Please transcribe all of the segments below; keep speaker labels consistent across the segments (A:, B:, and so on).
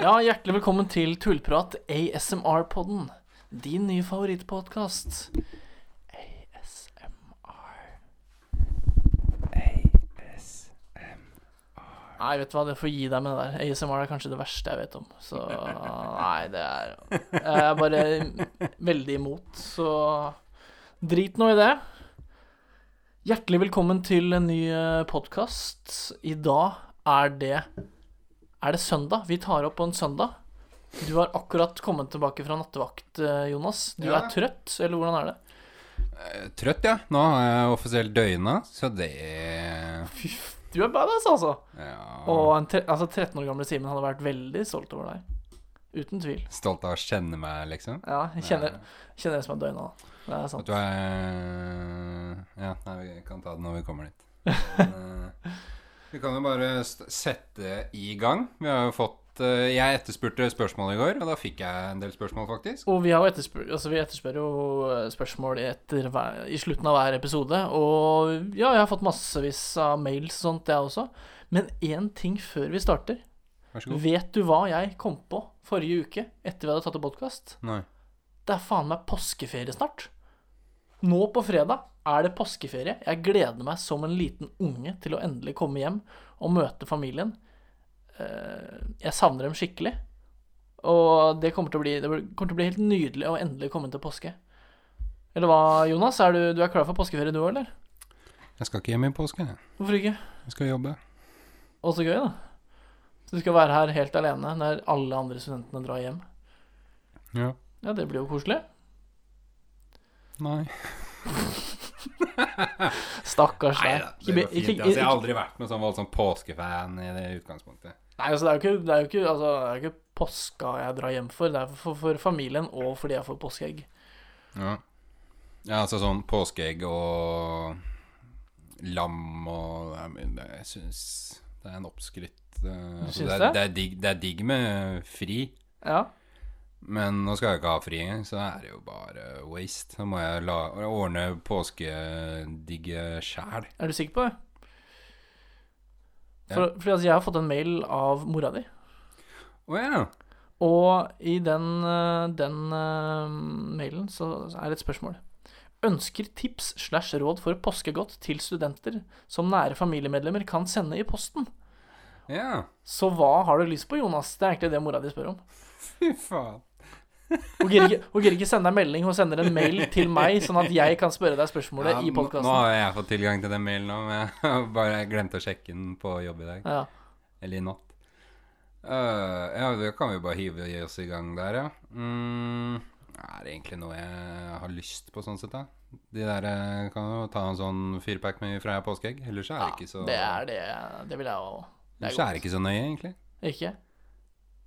A: Ja, hjertelig velkommen til Tullprat, ASMR-podden. Din nye favorittpodkast. ASMR. Nei, vet du hva, det får gi deg med det der. ASMR er kanskje det verste jeg vet om. Så nei, det er Jeg er bare veldig imot, så drit nå i det. Hjertelig velkommen til en ny podkast. I dag er det er det søndag? Vi tar opp på en søndag. Du har akkurat kommet tilbake fra nattevakt, eh, Jonas. Du
B: Ja.
A: er trøtt, eller hvordan er det?
B: Eh, Trøtt, ja. Nå har jeg offisielt døgna, så det er
A: Fy, f- du er badass, altså.
B: ja,
A: Og en tre, altså, 13 år gamle Simen hadde vært veldig stolt over deg. Uten tvil.
B: Stolt av å kjenne meg, liksom.
A: Ja, jeg kjenner, kjenner det som er døgna. da. Det er
B: At
A: sant.
B: du er Ja, nei, vi kan ta det når vi kommer dit. Men, eh, vi kan jo bare st sette i gang. Vi har jo fått eh, Jeg etterspurte spørsmål i går, og da fikk jeg en del spørsmål, faktisk.
A: Og vi, har jo etterspør, altså, vi etterspør jo eh, spørsmål etter hver, i slutten av hver episode. Og ja, jeg har fått massevis av mails og sånt, jeg også. Men én ting før vi starter.
B: Vær så god.
A: Vet du hva jeg kom på forrige uke etter vi hadde tatt opp podkast?
B: Nei.
A: Det er faen meg påskeferie snart. Nå på fredag er det påskeferie. Jeg gleder meg som en liten unge til å endelig komme hjem og møte familien. Eh, Jeg savner dem skikkelig. Og det kommer til å bli, det kommer til å bli helt nydelig å endelig komme til påske. Eller hva, Jonas? Er du, du er klar for påskeferie du òg, eller?
B: Jeg skal ikke hjem i påske. jeg.
A: Hvorfor ikke?
B: Jeg skal jobbe.
A: Å, så gøy, da. Så du skal være her helt alene når alle andre studentene drar hjem.
B: Ja.
A: Ja, det blir jo koselig.
B: Nei.
A: Stakkars deg.
B: Neida, det
A: Ikke-
B: går fint.
A: ikke-
B: Altså, jeg har
A: ikke-
B: aldri vært noen sånn voldsom påskefan i det utgangspunktet.
A: Nei, altså, det er jo ikke, det er jo ikke, altså, det er jo ikke påska jeg drar hjem for. Det er for, for familien og fordi jeg får påskeegg.
B: Ja. ja, altså sånn påskeegg og lam og Nei, men det- Jeg syns det er en oppskrytt eh, altså, det,
A: syns det?
B: er, det, er digg, det er digg med fri,
A: Ja.
B: men nå skal jeg ikke ha fri engang, så er det jo bare waste. Da må jeg la, ordne påskedigget sjæl.
A: Er du sikker på det? For, Fordi altså, jeg har fått en mail av mora di,
B: Å ja.
A: og i den, eh, den eh, mailen så så er det et spørsmål. Ønsker tips slash råd for påskegodt til studenter som nære familiemedlemmer kan sende i posten.
B: Ja.
A: Så hva har du lyst på, Jonas? Det er egentlig det mora di spør om.
B: Fy faen.
A: Hun gidder ikke- hun gidder ikke sende deg melding, hun sender en mail til meg, sånn at jeg kan spørre deg spørsmålet
B: Ja,
A: i
B: nå-
A: podkasten.
B: Nå har jeg fått tilgang til den mailen nå, men jeg har bare glemte å sjekke den på jobb i dag.
A: Ja.
B: Eller i natt. Øh, ja, det kan vi bare hive i oss i gang der, ja. Mm, er det egentlig noe jeg har lyst på, sånn sett, da? De der eh, kan jo ta en sånn firepack med Freia påskeegg. Ellers er det ikke så
A: Det er det Det vil jeg jo Det er
B: ellers er det ikke så nøye, egentlig.
A: godt. Ikke?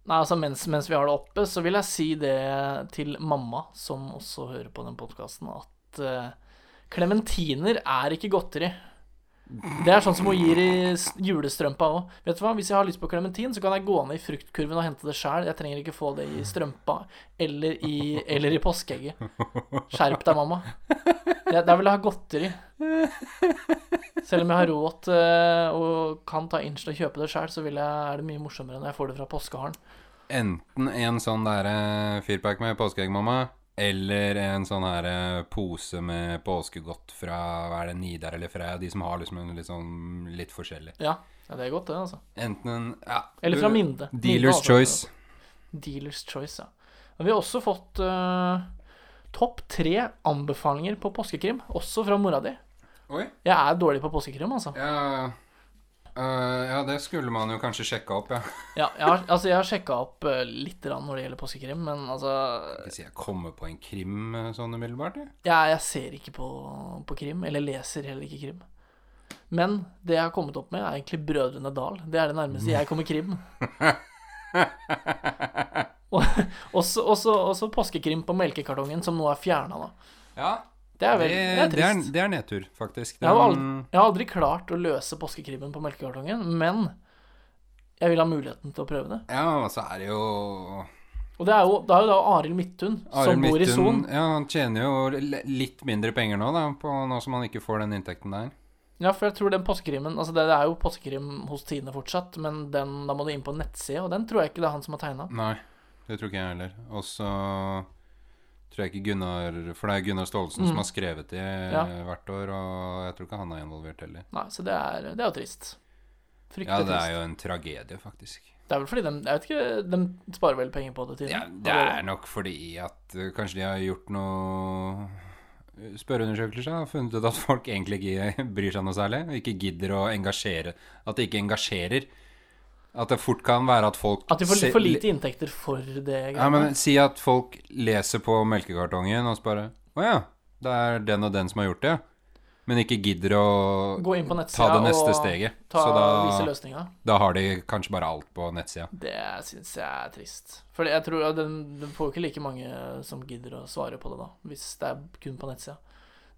A: Nei, altså mens, mens vi har det oppe, så vil jeg si det til mamma, som også hører på den podkasten, at eh, klementiner er ikke godteri. Det er sånn som hun gir i s- julestrømpa òg. Vet du hva, hvis jeg har lyst på klementin, så kan jeg gå ned i fruktkurven og hente det sjæl. Jeg trenger ikke få det i strømpa eller i, eller i påskeegget. Skjerp deg, mamma. Jeg, der vil jeg ha godteri. Selv om jeg har råd til eh, og kan ta inch og kjøpe det sjøl, så vil jeg, er det mye morsommere når jeg får det fra påskeharen.
B: Enten en sånn der eh, firepack med påskeegg, mamma, eller en sånn her eh, pose med påskegodt fra hva er det, Nidar eller Freia, de som har liksom en litt sånn litt forskjellig.
A: Ja, ja, det er godt, det, altså.
B: Enten en Ja.
A: Eller fra Minde. Minde har
B: Dealers
A: også-
B: choice.
A: Dealers Choice, ja. Men vi har også fått eh, topp tre anbefalinger på påskekrim, også fra mora di.
B: Oi.
A: Jeg er dårlig på påskekrim, altså.
B: Ja, øh, ja, det skulle man jo kanskje sjekka opp, ja.
A: Ja, jeg har, altså, jeg har sjekka opp eh, litt grann når det gjelder påskekrim, men altså
B: Hvis jeg kommer på en krim eh, sånn umiddelbart, jeg.
A: Jeg, jeg ser ikke på, på krim, eller leser heller ikke krim. Men det jeg har kommet opp med, er egentlig Brødrene Dal. Det er det nærmeste jeg kommer krim. Og også, også, også påskekrim på melkekartongen, som nå er fjerna, da.
B: Ja,
A: Det er
B: det,
A: vel det er
B: det, er,
A: trist.
B: det er nedtur, faktisk.
A: Jeg
B: Den-
A: har, aldri, jeg har aldri klart å løse påskekrimmen på melkekartongen, men jeg vil ha muligheten til å prøve det.
B: ja, og så er det jo
A: Og det er jo, det er jo da Arild Midthun,
B: Arild
A: som bor i
B: Midthun,
A: Son.
B: Ja, han tjener jo l- litt mindre penger nå, da, på nå som han ikke får den inntekten der.
A: Ja, for jeg tror den påskekrimmen Altså, det, det er jo påskekrim hos Tine fortsatt, men den, da må du inn på en nettside, og den tror jeg ikke det er han som har tegna.
B: Nei, det tror ikke jeg heller. Og så tror jeg ikke Gunnar For det er Gunnar Staalesen som har skrevet det hvert år, og jeg tror ikke han er involvert heller.
A: Nei, så det er, det er jo trist. Fryktelig
B: Ja, det er
A: trist.
B: jo en tragedie, faktisk.
A: Det er vel fordi de Jeg vet ikke, de sparer vel penger på det, Tine?
B: Ja, det er nok fordi at eh, kanskje de har gjort noe eh, spørreundersøkelser og funnet ut at folk egentlig ikke bryr seg noe særlig. og Ikke gidder å engasjere. At de ikke engasjerer. At det fort kan være at folk
A: At de får
B: se-
A: for lite inntekter for det
B: Ja,
A: greiene.
B: men Si at folk leser på melkekartongen og så bare Å ja, det er den og den som har gjort det. Men ikke gidder å
A: Gå inn på
B: ta
A: nettsida
B: det neste
A: og
B: steget.
A: ta,
B: Så
A: vise
B: da,
A: løsninga.
B: da har de kanskje bare alt på nettsida.
A: Det syns jeg er trist. For jeg tror at den, den får jo ikke like mange som gidder å svare på det, da. Hvis det er kun på nettsida.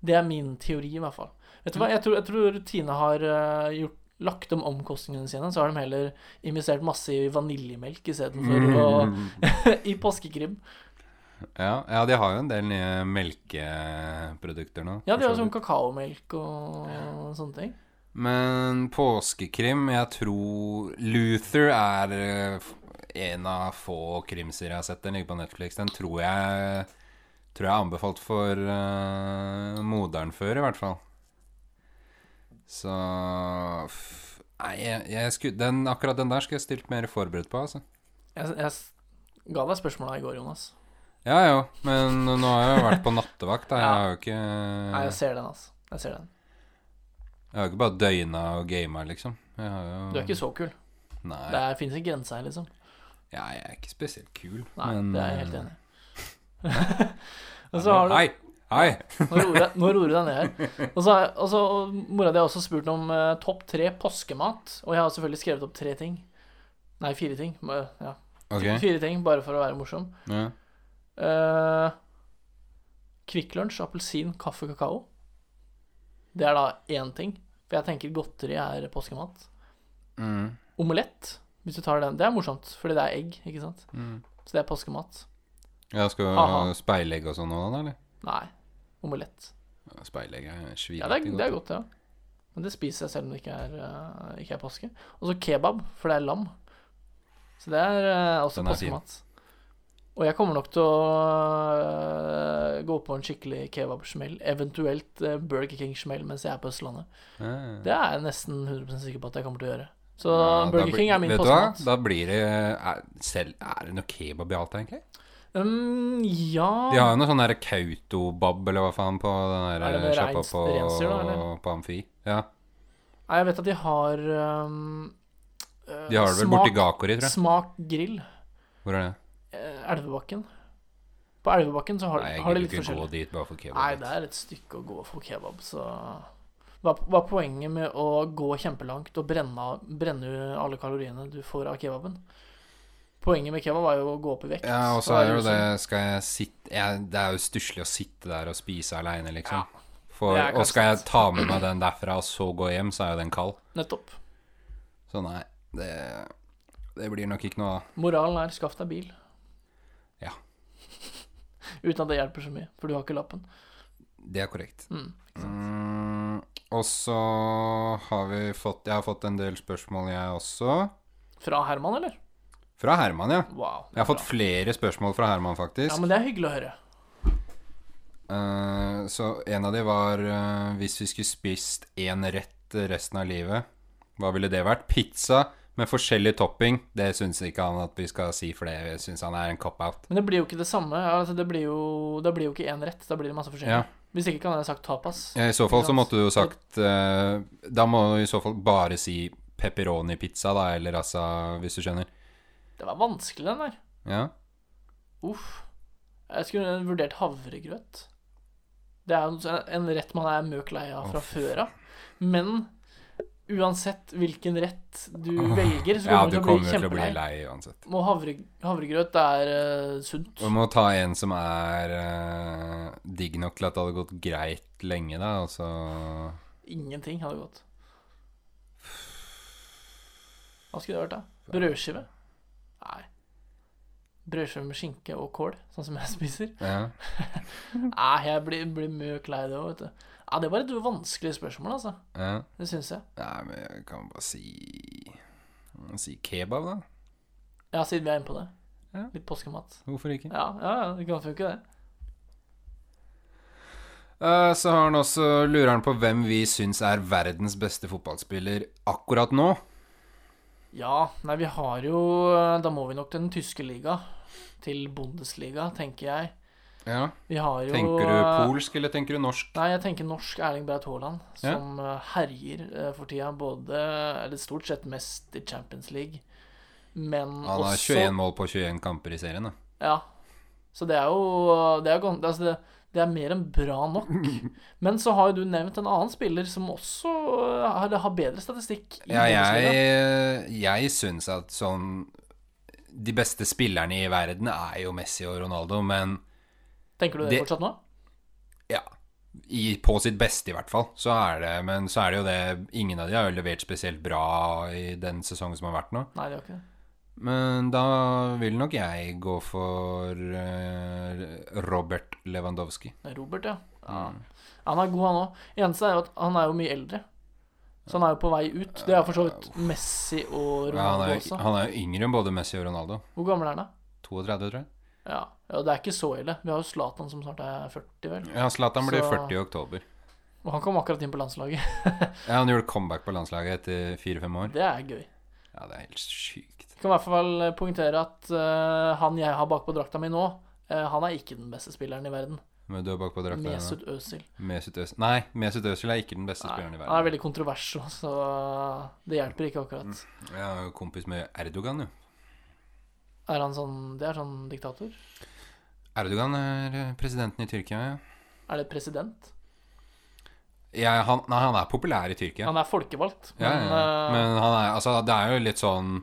A: Det er min teori, i hvert fall. Vet du hva, jeg tror, jeg tror Tine har eh, gjort Lagt om omkostningene sine, så har de heller investert masse i vaniljemelk istedenfor
B: Mm.
A: å I påskekrim.
B: Ja, ja, de har jo en del nye melkeprodukter nå.
A: Ja, de har
B: for så
A: sånn
B: vidt.
A: kakaomelk og sånne ting.
B: Men påskekrim, jeg tror Luther er eh, f- en av få krimserier jeg har sett. Den ligger på Netflix. Den tror jeg Tror jeg er anbefalt for uh, moderen før, i hvert fall. Så f- Nei, jeg, jeg skulle, den, akkurat den der skulle jeg stilt mer forberedt på, altså.
A: Jeg, jeg s- ga deg spørsmåla i går, Jonas.
B: Ja jo, men nå har jeg jo vært på nattevakt, da. Jeg har jo ikke
A: Nei, jeg ser den, altså. Jeg ser den.
B: Jeg har jo ikke bare døgna og gama, liksom. Jeg har jo
A: Du er ikke så kul.
B: Nei,
A: Det fins en grense her, liksom.
B: ja, jeg er ikke spesielt kul,
A: Nei,
B: men
A: det er jeg helt
B: eh,
A: enig i. og så har du
B: Hei! Hei!
A: Nå roer jeg- nå roer du deg ned her. Og så har og så, og mora di har også spurt om eh, topp tre påskemat, og jeg har selvfølgelig skrevet opp tre ting. Nei, fire ting. Bare- Ja.
B: Ok.
A: Fire ting, bare for å være morsom.
B: Ja.
A: Uh, Kvikk Lunsj, appelsin, kaffe, kakao. Det er da én ting. For jeg tenker godteri er påskemat.
B: Mm.
A: Omelett, hvis du tar den. Det er morsomt, fordi det er egg, ikke sant?
B: Mm.
A: Så det er påskemat.
B: Jeg skal
A: Aha.
B: ha speilegg og sånn nå, da, eller?
A: Nei. Omelett.
B: Ja, Speilegg er svinete
A: Ja, det er, det er godt, ja. Men det spiser jeg selv om det ikke er, eh, ikke er påske. Og så kebab, for det er lam. Så det er eh, også
B: Den er fin.
A: påskemat. Og jeg kommer nok til å eh, gå på en skikkelig kebabsmell, eventuelt eh, Burger King-smell mens jeg er på Østlandet.
B: Ja.
A: Det er jeg nesten 100 sikker på at jeg kommer til å gjøre. Så
B: Ja, da
A: Burger
B: blir-
A: King er min
B: vet du hva?
A: påskemat.
B: Da blir det er, selv, er det noe kebab i alt, egentlig?
A: Um, ja
B: De har jo noe sånn der kautobob, eller hva faen, på den
A: Er det
B: der eh,
A: med
B: sjappa
A: reins-
B: på,
A: reinsdyr, da, eller?
B: på Amfi. Ja.
A: Nei, jeg vet at de har um, eh,
B: De har det vel borti Gakori, tror jeg.
A: Smak grill.
B: Hvor er det?
A: eh, Elvebakken. På Elvebakken så har,
B: Nei, jeg
A: har de
B: gidder
A: litt
B: ikke gå
A: forskjellig.
B: dit bare for kebab.
A: Nei, det er et stykke å gå for kebab, så hva, hva er poenget med å gå kjempelangt og brenne, av- brenne ut alle kaloriene du får av kebaben? Poenget med kebab er jo å gå opp i vekt.
B: Ja, og så
A: Da
B: er det jo
A: liksom-
B: det Skal jeg sitte jeg, Det er jo stusslig å sitte der og spise aleine, liksom.
A: Ja,
B: For,
A: det er
B: og skal jeg
A: kanskje-
B: ta med meg den derfra og så gå hjem, så er jo den kald.
A: Nettopp.
B: Så nei, det, det blir nok ikke noe av.
A: Moralen er skaff deg bil.
B: Ja.
A: Uten at det hjelper så mye, for du har ikke lappen.
B: Det er korrekt.
A: Mm, ikke sant?
B: Mm, og så har vi fått Jeg har fått en del spørsmål, jeg også.
A: Fra Herman, eller?
B: Fra Herman, ja.
A: Wow.
B: Jeg har fått flere spørsmål fra Herman, faktisk.
A: Ja, men det er hyggelig å høre.
B: Eh, så en av de var eh, Hvis vi skulle spist én rett resten av livet, hva ville det vært? Pizza med forskjellig topping. Det syns ikke han at vi skal si, for det syns han er en cop-out.
A: Men det blir jo ikke det samme. Ja, altså, det, blir jo, det blir jo ikke én rett, da blir det masse forskjellig.
B: Ja.
A: Hvis ikke kan jeg ha sagt tapas.
B: Ja, Eh, I så fall så måtte du jo sagt eh, Da må du i så fall bare si pepperoni-pizza, da, eller altså Hvis du skjønner.
A: Det var vanskelig, den der.
B: Ja.
A: Uff. Jeg skulle vurdert havregrøt. Det er jo en rett man er møk lei av fra før av. Men uansett hvilken rett du velger, så
B: ja,
A: kommer
B: du
A: du til å
B: kommer jo
A: bli
B: til å bli
A: kjempelei.
B: lei uansett.
A: Og havre, havregrøt er eh, sunt.
B: Du må ta en som er eh, digg nok til at det hadde gått greit lenge, da, altså. og så
A: Ingenting hadde gått. Hva skulle det vært, da? Brødskive? Nei. Brødskive med skinke og kål, sånn som jeg spiser?
B: ja.
A: Nei, jeg blir, blir møk lei det òg, vet du. Ja, det var et vanskelig spørsmål, altså.
B: Ja.
A: Det syns jeg.
B: Nei, men jeg kan bare si Si kebab, da.
A: Ja, siden vi er inne på det.
B: Ja.
A: Litt påskemat.
B: Hvorfor ikke?
A: Ja, ja, ja, det kan funke, det.
B: Eh, Så har han også lurer han på hvem vi syns er verdens beste fotballspiller akkurat nå.
A: Ja, nei, vi har jo Da må vi nok til den tyske liga. Til Bundesliga, tenker jeg.
B: Ja.
A: Vi har jo eh,
B: Tenker du polsk, eller tenker du norsk?
A: Nei, jeg tenker norsk Erling Braut Haaland,
B: Ja.
A: som eh, herjer eh, for tida. Både Eller stort sett mest i Champions League, men
B: Han har
A: også
B: 21 mål på 21 kamper i serien, da.
A: Ja. Så det er jo Det er, gon- altså det, det er mer enn bra nok. Men så har jo du nevnt en annen spiller som også eh, har, har bedre statistikk. i
B: Ja,
A: Bundesliga.
B: jeg, eh, jeg syns at sånn De beste spillerne i verden er jo Messi og Ronaldo, men
A: Tenker du det,
B: det-
A: fortsatt nå?
B: ja i, På sitt beste, i hvert fall. Så er det, men så er det jo det Ingen av de har jo levert spesielt bra i den sesongen som har vært nå.
A: Nei, det gjør ikke det.
B: Men da vil nok jeg gå for eh, Robert Lewandowski.
A: Det er Robert, ja. ja.
B: Mm.
A: Han er god, han òg. Eneste er jo at han er jo mye eldre. Så han er jo på vei ut. Det er for så vidt Messi
B: Ja,
A: og
B: han,
A: Ronaldo
B: er, jo-
A: også.
B: han er jo yngre enn både Messi og Ronaldo.
A: Hvor gammel er han, da?
B: 32, tror jeg.
A: Ja. ja, det er ikke så ille. Vi har jo Zlatan som snart er 40, vel.
B: Ja, Zlatan blir
A: Så-
B: 40 i oktober.
A: Og han kom akkurat inn på landslaget.
B: Ja, han gjorde comeback på landslaget etter 4-5 år.
A: Det er gøy.
B: Ja, det er helt sykt.
A: Jeg kan i hvert fall poengtere at eh, han jeg har bakpå drakta mi nå, eh, han er ikke den beste spilleren i verden.
B: Men du er bak på drakta. her nå.
A: Mesut Özil.
B: Mesut Özil. Nei, Mesut Özil er ikke den beste
A: Nei,
B: spilleren i
A: han er
B: verden.
A: veldig kontrovers, så det hjelper ikke akkurat.
B: Jeg er jo kompis med Erdogan, jo.
A: Er han sånn Det er sånn diktator?
B: Erdogan er eh, presidenten i Tyrkia, ja.
A: Er det president?
B: ja han, nei, han er populær i Tyrkia.
A: Han er folkevalgt,
B: Ja,
A: men,
B: ja.
A: eh,
B: men han er, altså, det er jo litt sånn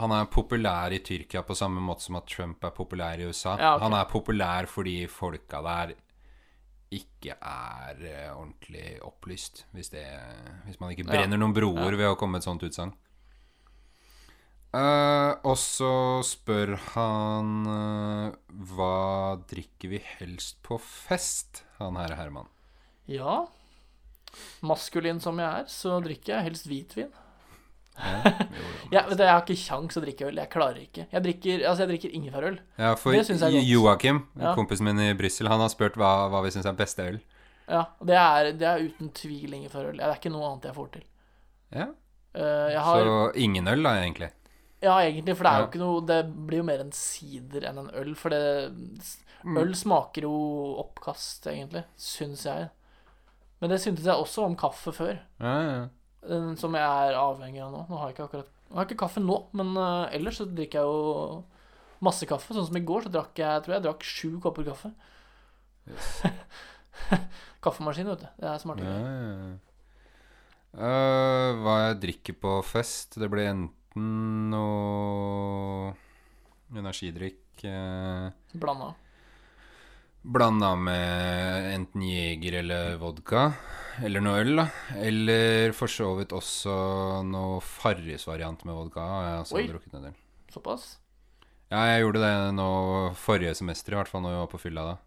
B: Han er populær i Tyrkia på samme måte som at Trump er populær i USA.
A: Ja, ok.
B: Han er populær fordi folka der ikke er eh, ordentlig opplyst, hvis, det, hvis man ikke
A: Ja.
B: brenner noen broer ved å komme med et sånt utsagn. Eh, og så spør han eh, Hva drikker vi helst på fest, han herre Herman?
A: ja. Maskulin som jeg er, så drikker jeg helst hvitvin. Jeg, vet du, jeg har ikke kjangs å drikke øl. Jeg klarer ikke. Jeg drikker, altså, jeg drikker ingefærøl.
B: Ja, for
A: Det synes jeg er godt.
B: Joakim,
A: Ja.
B: kompisen min i Brussel, han har spurt hva, hva vi syns er beste øl.
A: Ja, og det er, det er uten tvil ingefærøl. Det er ikke noe annet jeg får til.
B: Ja.
A: Eh, jeg har,
B: Så ingen øl, da, egentlig.
A: ja, egentlig, for det er jo
B: Ja.
A: ikke noe Det blir jo mer en sider enn en øl, for det
B: Mm.
A: Øl smaker jo oppkast, egentlig, syns jeg. Men det syntes jeg også om kaffe før,
B: Ja, ja.
A: eh, som jeg er avhengig av nå. Nå har jeg ikke akkurat Jeg har ikke kaffe nå, men eh, ellers så drikker jeg jo masse kaffe. Sånn som i går, så drakk jeg tror jeg drakk sju kopper kaffe. Kaffemaskin, vet du. Det er smarte
B: ja,
A: greier.
B: ja. Eh, hva jeg drikker på fest? Det blir enten noe energidrikk uh,
A: Blanda.
B: blanda med enten Jeger eller vodka, eller noe øl, da. Eller for så vidt også noe Farris-variant med vodka. Jeg har
A: Oi.
B: også drukket en del.
A: Såpass.
B: Ja, jeg gjorde det nå forrige semester, i hvert fall når vi var på fylla da.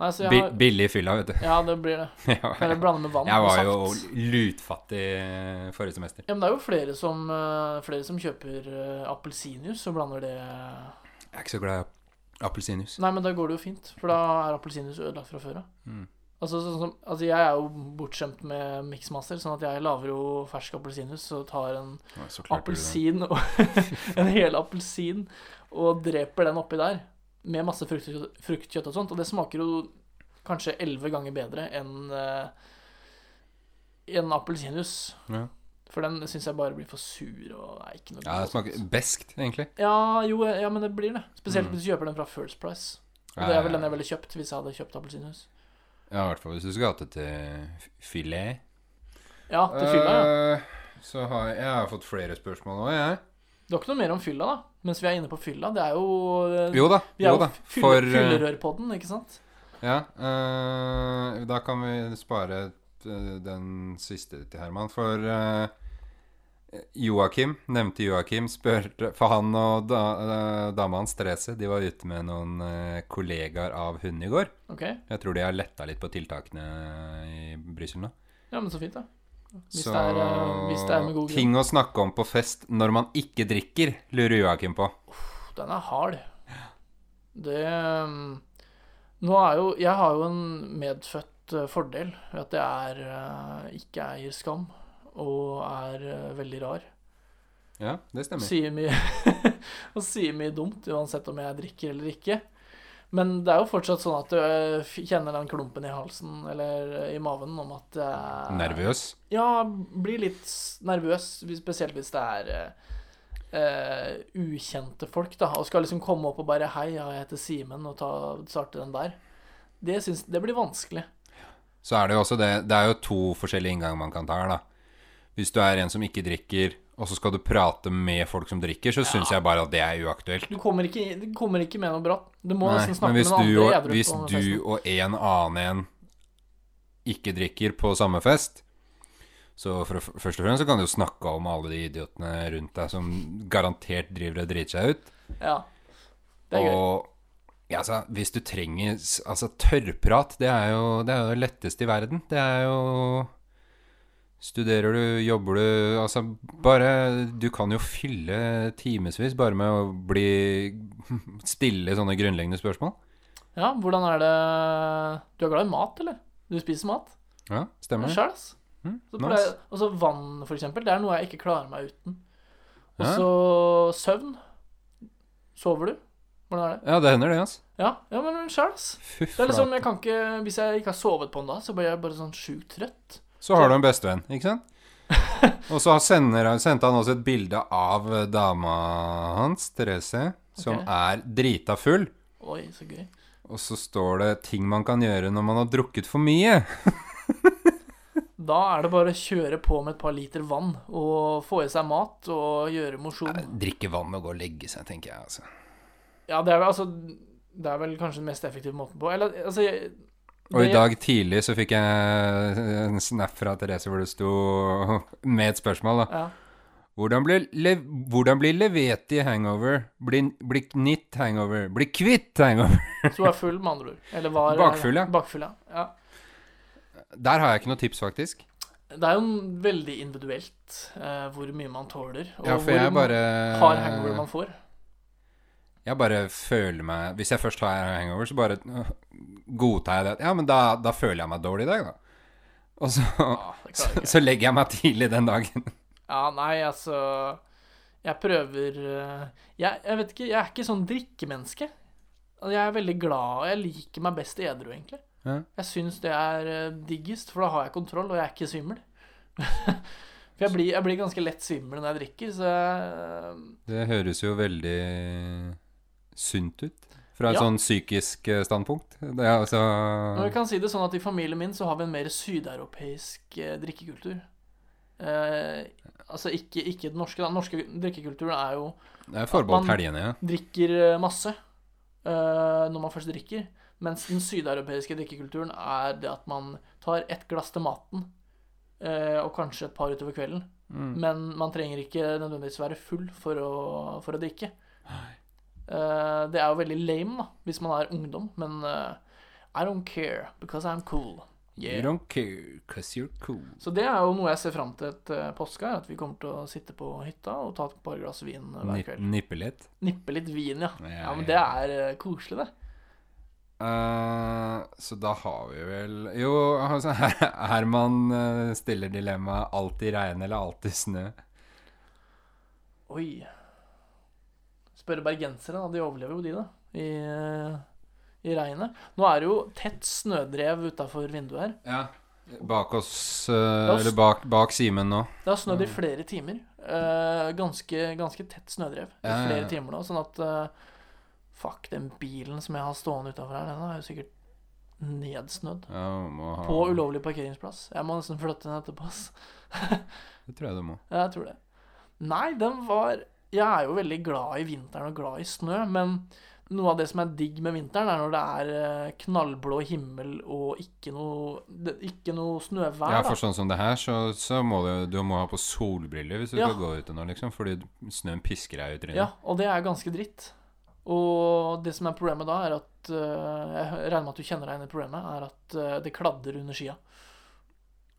A: Nei, så Altså, jeg
B: Bi
A: har
B: billig fylla, vet du.
A: Ja, det blir det.
B: Ja,
A: Eller blande med vann
B: jeg var jo
A: og saft.
B: lutfattig eh, forrige semester.
A: Ja, men det er jo flere som, eh, flere som kjøper eh, appelsinjuice og blander det Nei,
B: Jeg er ikke så glad i appelsinjuice.
A: men da går det jo fint, for da er appelsinjuice ødelagt fra før av.
B: Mm.
A: Altså, sånn som, altså, jeg er jo bortskjemt med miksmaster, sånn at jeg lager jo fersk appelsinjuice og tar en
B: Ja, så klart blir det det.
A: appelsin og En hel appelsin og dreper den oppi der med masse fruktkjøtt, fruktkjøtt og sånt, og det smaker jo kanskje elleve ganger bedre enn eh, enn appelsinjuice.
B: Ja.
A: For den syns jeg bare blir for sur og er ikke noe
B: Ja,
A: god
B: det
A: og
B: smaker Mm.
A: sånt.
B: beskt, egentlig.
A: Ja, jo, ja, men det blir det. Spesielt hvis du kjøper den fra First Price. Og det er vel den jeg ville kjøpt hvis jeg hadde kjøpt appelsinjuice.
B: Ja, i hvert fall hvis du skulle hatt det til f- filet.
A: Ja, til fylla, ja.
B: Eh, Så har jeg, jeg har fått flere spørsmål nå, jeg.
A: Det var ikke noe mer om fylla, da. Mens vi er inne på fylla, det er jo eh,
B: Jo da,
A: Vi er
B: jo
A: jo
B: da.
A: fylle,
B: For eh,
A: fyllerørpodden, ikke sant?
B: Ja. eh, da kan vi spare eh, den siste til Herman, for eh, Joakim, nevnte Joakim, spør For han og da, eh, dama hans, Therese, de var ute med noen eh, kollegaer av hund i går.
A: Ok?
B: Jeg tror de har letta litt på tiltakene i Brussel nå.
A: Ja, men så fint, da. Hvis,
B: Så
A: det, er, eh, hvis det er med god grunn.
B: ting å snakke om på fest når man ikke drikker, lurer Joakim på.
A: Den er hard. Det um, Nå er jo Jeg har jo en medfødt eh, fordel ved at jeg er, eh, ikke eier skam, og er eh, veldig rar.
B: Ja, det
A: Og
B: stemmer.
A: sier mye Og sier mye dumt, uansett om jeg drikker eller ikke. Men det er jo fortsatt sånn at du eh, f- kjenner den klumpen i halsen eller eh, i maven om at eh, det er
B: Nervøs.
A: Ja, blir litt s- nervøs, hvis- spesielt hvis det er eh, eh, ukjente folk, da. Og skal liksom komme opp og bare 'Hei, ja, jeg heter Simen', og ta, starte den der. Det, syns, det blir vanskelig.
B: Så er det jo også det Det er jo to forskjellige innganger man kan ta her, da. Hvis du er en som ikke drikker, og så skal du prate med folk som drikker, så synes syns jeg bare at det er uaktuelt.
A: Du kommer ikke, du kommer ikke med noe bra. Du må
B: Nei,
A: nesten snakke
B: men
A: med
B: hvis
A: noen
B: du,
A: andre
B: og,
A: edru
B: hvis
A: på
B: du
A: festen.
B: og en annen en ikke drikker på samme fest, så for, for- først og fremst så kan du jo snakke om alle de idiotene rundt deg som garantert driver og driter seg ut.
A: Ja. Det er gøy.
B: Og ja, altså, hvis du trenger s- Altså, tørrprat, det er jo det, er jo det letteste i verden. Det er jo Studerer du, jobber du Altså, bare Du kan jo fylle timevis bare med å bli Stille sånne grunnleggende spørsmål.
A: Ja, hvordan er det Du er glad i mat, eller? Du spiser mat?
B: Ja, stemmer.
A: Sjøl, ass.
B: Mm,
A: Så
B: nice.
A: pleier- Og så vann, for eksempel. Det er noe jeg ikke klarer meg uten. Og
B: Ja.
A: så søvn. Sover du? Hvordan er det?
B: Ja, det hender det, altså.
A: Ja, ja men sjøl, ass.
B: Fy
A: Det er
B: flate.
A: liksom, jeg kan ikke, Hvis jeg ikke har sovet på en dag, så blir jeg bare sånn sjukt trøtt.
B: Så har du en bestevenn, ikke sant? Og så sender, han- sendte han også et bilde av eh, dama hans, Therese, som
A: Ok.
B: er drita full.
A: Oi, så gøy.
B: Og så står det 'ting man kan gjøre når man har drukket for mye'.
A: Da er det bare å kjøre på med et par liter vann og få i seg mat og gjøre mosjon.
B: Drikke vann og gå og legge seg, tenker jeg, altså.
A: Ja, det er vel altså Det er vel kanskje den mest effektive måten på Eller altså jeg-
B: Og i
A: det-
B: dag tidlig så fikk jeg en snap fra Therese hvor det sto med et spørsmål, da.
A: ja.
B: Hvordan blir, le, hvordan blir leveti hangover? Bli, bli knitt hangover? Bli kvitt hangover?
A: Så du er full, med andre ord. Eller var
B: Bakfull, ja.
A: Bakfull, ja. ja.
B: Der har jeg ikke noe tips, faktisk.
A: Det er jo veldig individuelt eh, hvor mye man tåler, og
B: Ja, for
A: hvor
B: jeg bare eh,
A: hard hangover man får.
B: Jeg bare føler meg Hvis jeg først har hangover, så bare øh, godtar jeg det. at, Ja, men da, da føler jeg meg dårlig i dag, da. Og så,
A: Ja, Ah, det
B: så,
A: klarer jeg ikke.
B: så legger jeg meg tidlig den dagen.
A: Ja, nei, altså Jeg prøver eh, jeg, jeg vet ikke, jeg er ikke sånn drikkemenneske. Og Jeg er veldig glad, og jeg liker meg best edru, egentlig.
B: Ja.
A: Jeg syns det er eh, diggest, for da har jeg kontroll, og jeg er ikke svimmel. for jeg blir, jeg blir ganske lett svimmel når jeg drikker, så jeg,
B: Det høres jo veldig sunt ut. Fra et
A: Ja.
B: sånn psykisk eh, standpunkt. Det er altså
A: Og jeg kan si det sånn at i familien min så har vi en mer sydeuropeisk eh, drikkekultur. Eh, altså ikke, ikke den norske. Den norske drikkekulturen er jo
B: Det er forbeholdt
A: man-
B: helgene, ja.
A: drikker eh, masse eh, når man først drikker. Mens den sydeuropeiske drikkekulturen er det at man tar ett glass til maten eh, og kanskje et par utover kvelden.
B: Mm.
A: Men man trenger ikke nødvendigvis være full for å, for å drikke. Eh, det er jo veldig lame da, hvis man er ungdom, men eh, I don't care because I'm cool.
B: You
A: Yeah.
B: don't care cause you're cool.
A: Så det er jo noe jeg ser fram til etter påske, er at vi kommer til å sitte på hytta og ta et par glass vin hver
B: Nip,
A: kveld.
B: nippe litt.
A: Nippe litt vin, ja.
B: Ja,
A: Ja, men
B: ja.
A: det er eh, koselig, det.
B: Eh, så da har vi vel Jo, altså, her, Herman eh, stiller dilemmaet 'alltid regn eller alltid snø'.
A: Oi. Spørre bergensere, da. De overlever jo, de, da. I, eh, i regnet. Nå er det jo tett snødrev utafor vinduet her.
B: Ja. Bak oss eh,
A: oss-
B: Eller bak, bak Simen nå.
A: Det har snødd i
B: Mm.
A: flere timer. Eh, ganske, ganske tett snødrev i
B: Ja, ja, ja.
A: flere timer nå, sånn at eh, Fuck, den bilen som jeg har stående utafor her, den er jo sikkert nedsnødd.
B: Ja, du må ha,
A: På ulovlig parkeringsplass. Jeg må nesten flytte den etterpå, ass.
B: Det tror jeg du må.
A: Ja, jeg tror det. Nei, den var Jeg er jo veldig glad i vinteren og glad i snø, men Noe av det som er digg med vinteren, er når det er eh, knallblå himmel og ikke noe, det, ikke noe snøvær.
B: Ja,
A: da.
B: for sånn som det her, så, så må du, du må ha på solbriller hvis du
A: Ja.
B: skal gå ute nå, liksom. Fordi snøen pisker deg i trynet.
A: Ja, og det er ganske dritt. Og det som er problemet da, er at eh, Jeg regner med at du kjenner deg igjen i problemet, er at eh, det kladder under skia.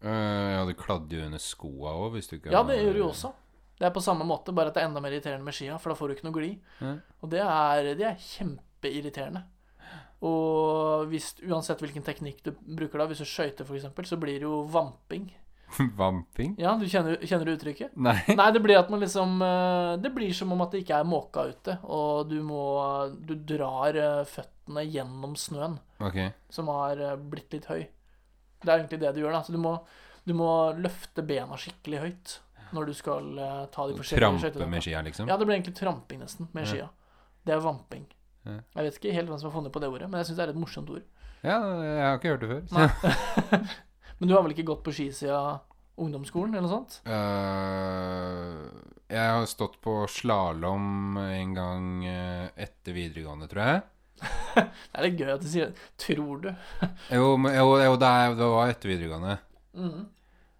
B: Eh, ja, du kladde jo under skoa òg, hvis du ikke
A: Ja, det gjør du jo også. Det er på samme måte, bare at det er enda mer irriterende med skia, for da får du ikke noe glid.
B: Ja.
A: Og det er, det er kjempeirriterende. Og hvis, uansett hvilken teknikk du bruker da, hvis du skøyter f.eks., så blir det jo vamping.
B: eh, Vamping?
A: Ja, du kjenner, kjenner du uttrykket?
B: Nei.
A: Nei, det blir at man liksom eh, Det blir som om at det ikke er måka ute, og du må Du drar eh, føttene gjennom snøen
B: Ok.
A: som har eh, blitt litt høy. Det er egentlig det du gjør, da. Så du må, du må løfte bena skikkelig høyt når du skal eh, ta de forskjellige
B: Trampe med
A: skøytedokkene.
B: skia, liksom?
A: Ja, det blir egentlig tramping nesten med
B: Ja.
A: skia. Det er vamping.
B: Ja.
A: Jeg vet ikke helt hvem som har funnet på det ordet, men jeg syns det er et morsomt ord.
B: Ja, jeg har ikke hørt det før.
A: Nei. Men du har vel ikke gått på ski siden ungdomsskolen, eller noe sånt?
B: Eh, jeg har stått på slalåm en gang eh, etter videregående, tror jeg.
A: Det er litt gøy at du sier det. Tror du?
B: Jo, men, jo, jo det, er, det var etter videregående.
A: Mhm.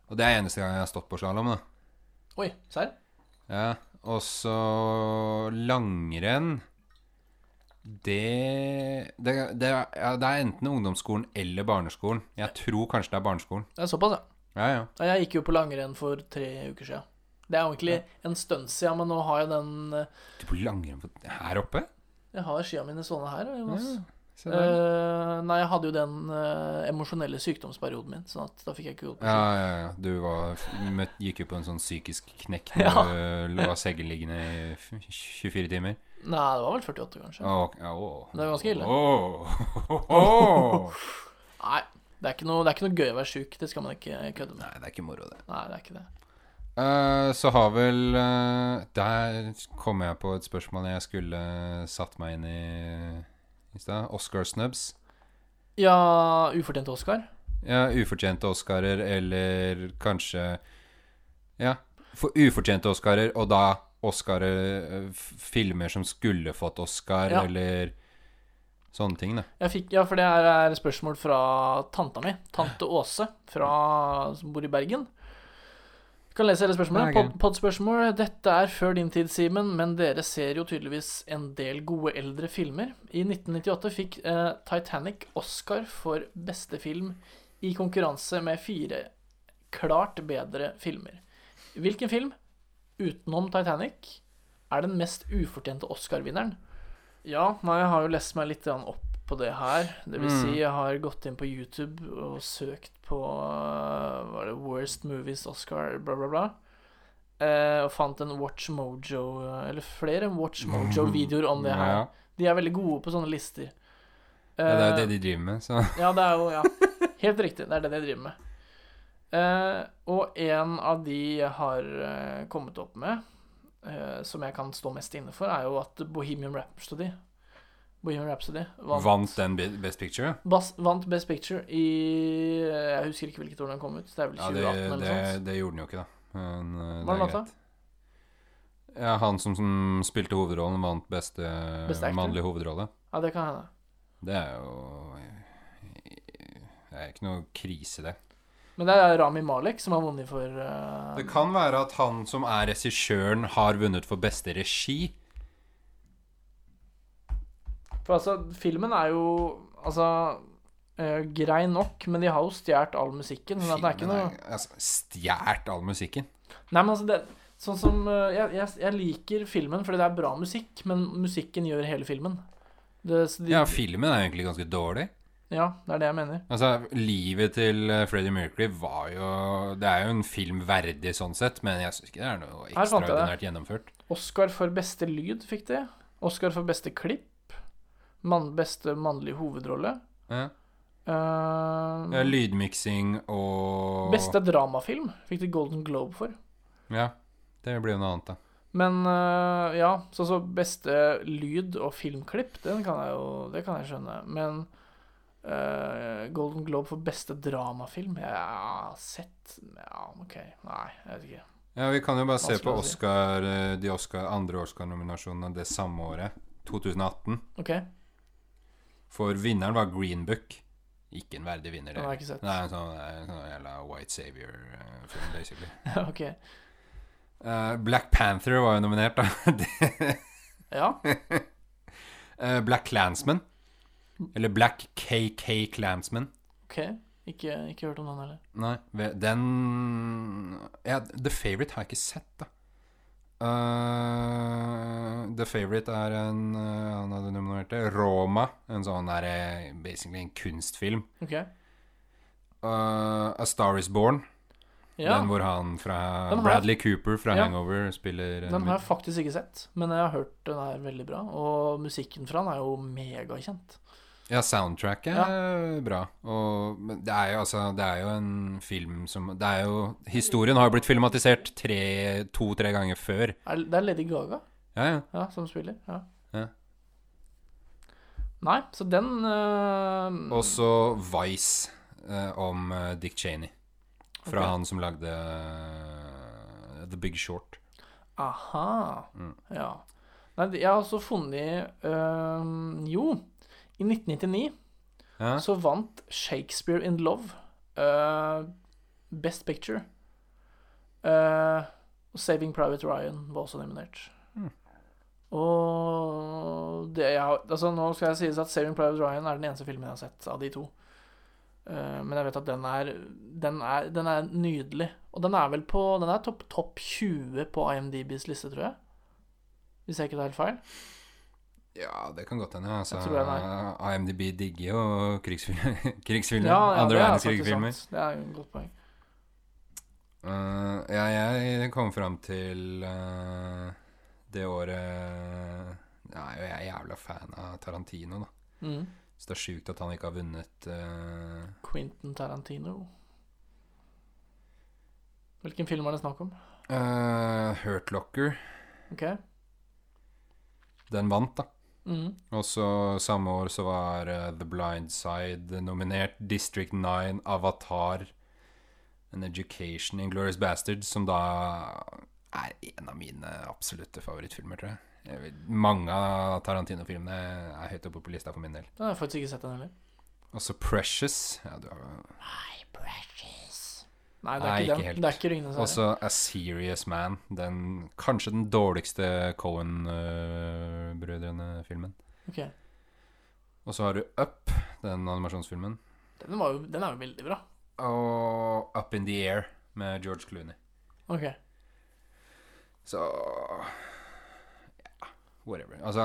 B: Og det er eneste gang jeg har stått på slalåm, da.
A: Oi, serr?
B: Ja. Og så langrenn. Det det, det, er- ja, det er enten ungdomsskolen eller barneskolen. Jeg tror kanskje det er barneskolen.
A: Det er såpass, ja.
B: Ja, ja.
A: Ja, Jeg gikk jo på langrenn for tre uker siden. Det er jo egentlig en stund siden, men nå har jeg den eh,
B: Du på langrenn på- her oppe?
A: Jeg har skia mine sånne her, Jonas.
B: Ja, se der.
A: Eh, nei, jeg hadde jo den eh, emosjonelle sykdomsperioden min, sånn at da fikk jeg ikke gått på
B: Ja,
A: ski.
B: ja, ja. Du var, møtt, gikk jo på en sånn psykisk knekk da
A: Ja.
B: du lå av sengen liggende i f- 24 timer.
A: Nei, det var vel 48, kanskje.
B: Å, ja, å.
A: Det er ganske ille.
B: Å, å.
A: Nei, det er, ikke noe, det er ikke noe gøy å være sjuk. Det skal man ikke kødde med.
B: Nei, det er ikke moro, det.
A: Nei, det er ikke det.
B: Eh, så har vel eh, Der kom jeg på et spørsmål jeg skulle satt meg inn i i stad. Oscar-snubs.
A: Ja, ufortjent Oscar.
B: Ja, ufortjente Oscarer, eller kanskje Ja, for ufortjente Oscarer, og da Oscarer eh, f- Filmer som skulle fått Oscar,
A: Ja.
B: eller sånne ting, da.
A: Jeg fikk, ja, for det her er spørsmål fra tanta mi, tante Åse, fra, som bor i Bergen. Jeg kan lese hele spørsmålet.
B: Det er
A: Pod, podspørsmål. Dette er før din tid, Simen, men dere ser jo tydeligvis en del gode eldre filmer. I 1998 fikk eh, Titanic Oscar for beste film i konkurranse med fire klart bedre filmer. Hvilken film, utenom Titanic, er den mest ufortjente Oscar-vinneren? Ja, nei, jeg har jo lest meg litt grann opp på det her. Det vil si, jeg har gått inn på YouTube og søkt på øh, Var det Worst Movies Oscar, bla, bla, bla. Eh, og fant en Watch Mojo eh, Eller flere Watch Mojo-videoer om det her.
B: Mm. Ja,
A: De er veldig gode på sånne lister.
B: ja, det er jo
A: Eh,
B: det de driver med, så
A: ja, det er jo ja. Helt riktig. Det er det jeg driver med. Eh, og en av de jeg har eh, kommet opp med, eh, som jeg kan stå mest inne for, er jo at Bohemian Rhapsody Bohemian Rhapsody vant,
B: Vant den Be- Best Picture?
A: Bas, vant Best Picture i eh, Jeg husker ikke hvilket år den kom ut. Det er vel
B: Ja,
A: 2018
B: det,
A: eller
B: det,
A: noe sånt.
B: det gjorde den jo ikke, da. Men eh,
A: Hva
B: det
A: er
B: er
A: låta?
B: greit. Ja, han som, som spilte hovedrollen, vant beste
A: Beste actor?
B: mannlige hovedrolle.
A: Ja, det kan hende.
B: Det er jo Det er ikke noe krise, det.
A: Men det er Rami Malek som har vunnet for eh,
B: Det kan være at han som er regissøren, har vunnet for beste regi.
A: For altså, filmen er jo Altså eh, grei nok, men de har jo stjålet all musikken. Sånn at det er ikke
B: Filmen
A: noe
B: er- altså, Stjålet all musikken.
A: Nei, men altså det, Sånn som eh, jeg, jeg, jeg liker filmen fordi det er bra musikk, men musikken gjør hele filmen. Det, så de, ja.
B: Ja, filmen er egentlig ganske dårlig.
A: det er det jeg mener.
B: Altså, livet til eh, Freddie Mercury var jo Det er jo en film verdig sånn sett, men jeg syns ikke det er noe
A: Her fant jeg det.
B: ekstraordinært gjennomført.
A: Oscar for beste lyd fikk det. Oscar for beste klipp. Mann, beste mannlige hovedrolle.
B: Ja.
A: Eh,
B: Ja, lydmiksing og
A: beste dramafilm fikk de Golden Globe for.
B: Ja. Det blir jo noe annet, da.
A: Men eh, ja, så, så beste lyd og filmklipp, den kan jeg jo det kan jeg skjønne. Men eh, Golden Globe for beste dramafilm Jeg har sett Ja, OK. Nei, jeg vet ikke.
B: Ja, Vi kan jo bare se
A: Vanskelig
B: på
A: å si.
B: Oscar, eh, de Oscar, andre Oscar-nominasjonene det samme året. 2018.
A: Ok.
B: For vinneren var Green Book. Ikke en verdig vinner.
A: Den har jeg ikke sett.
B: Det er en sånn, det er en sånn jævla White Savior-film, basically.
A: ok.
B: Eh, Black Panther var jo nominert, da. Det-
A: Ja.
B: eh, Black Clansman. Eller Black KK Clansman.
A: Ok. Ikke, ikke hørt om den heller.
B: Nei, ve- den ja, The Favourite har jeg ikke sett, da. Eh, The Favourite er en eh, Han hadde nominert det. Roma. En sånn der eh, Basically en kunstfilm.
A: Ok.
B: Eh, A Star Is Born.
A: Ja.
B: Den hvor han fra
A: Den har jeg-
B: Bradley Cooper fra
A: Ja.
B: Hangover spiller en
A: Den har jeg faktisk ikke sett, men jeg har hørt den er veldig bra. Og musikken fra den er jo megakjent.
B: Ja, soundtracket er bra. Og, men det er jo altså Det er jo en film som Det er jo Historien har jo blitt filmatisert tre- to-tre ganger før.
A: Er- Det er Lady Gaga
B: Ja, ja.
A: ja, som spiller. Ja.
B: Ja.
A: Nei, så den øh,
B: Og så Vice eh, om eh, Dick Cheney. Fra
A: Ok.
B: han som lagde eh, The Big Short.
A: Aha.
B: Mm.
A: Ja. Nei, jeg har også funnet øh, Jo, i 1999
B: Ja,
A: så vant Shakespeare in Love øh, Best Picture. Eh, og Saving Private Ryan var også nominert.
B: Mm.
A: Og det jeg har Altså, nå skal jeg sies at Saving Private Ryan er den eneste filmen jeg har sett av de to. Eh, men jeg vet at den er, den er Den er nydelig. Og den er vel på Den er topp topp 20 på IMDbs liste, tror jeg. Hvis jeg ikke tar helt feil.
B: ja det kan godt hende. Altså,
A: Jeg tror den er-
B: IMDb digger jo krigsfilmer. krigsfilmer
A: det
B: andre
A: er
B: verdenskrig-filmer.
A: faktisk sant. Det er et godt poeng.
B: Eh, ja, jeg kom fram til eh, det året Nei, jeg er jævla fan av Tarantino, da.
A: Mm.
B: Så det er sjukt at han ikke har vunnet eh,
A: Quentin Tarantino. Hvilken film er det snakk om?
B: eh, Hurt Locker.
A: Ok.
B: Den vant, da.
A: Mhm.
B: Og så samme år så var eh, The Blind Side nominert. District 9, Avatar, An Education, Inglourious Bastards, som da er en av mine absolutte favorittfilmer, tror jeg. jeg vil, mange av Tarantino-filmene er høyt oppe på lista for min del.
A: Den har jeg faktisk ikke sett, den heller.
B: Og så Precious. Ja, du har
A: Nei, det er
B: Nei,
A: ikke,
B: ikke
A: den.
B: helt.
A: Det er ikke Ringenes
B: Og
A: herre.
B: så A Serious Man. Den, kanskje den dårligste Cohen-brødrene-filmen.
A: Ok.
B: Og så har du Up, den animasjonsfilmen.
A: Den, var jo, den er jo veldig bra.
B: Og Up in the Air med George Clooney.
A: Ok.
B: Så ja, whatever. Altså,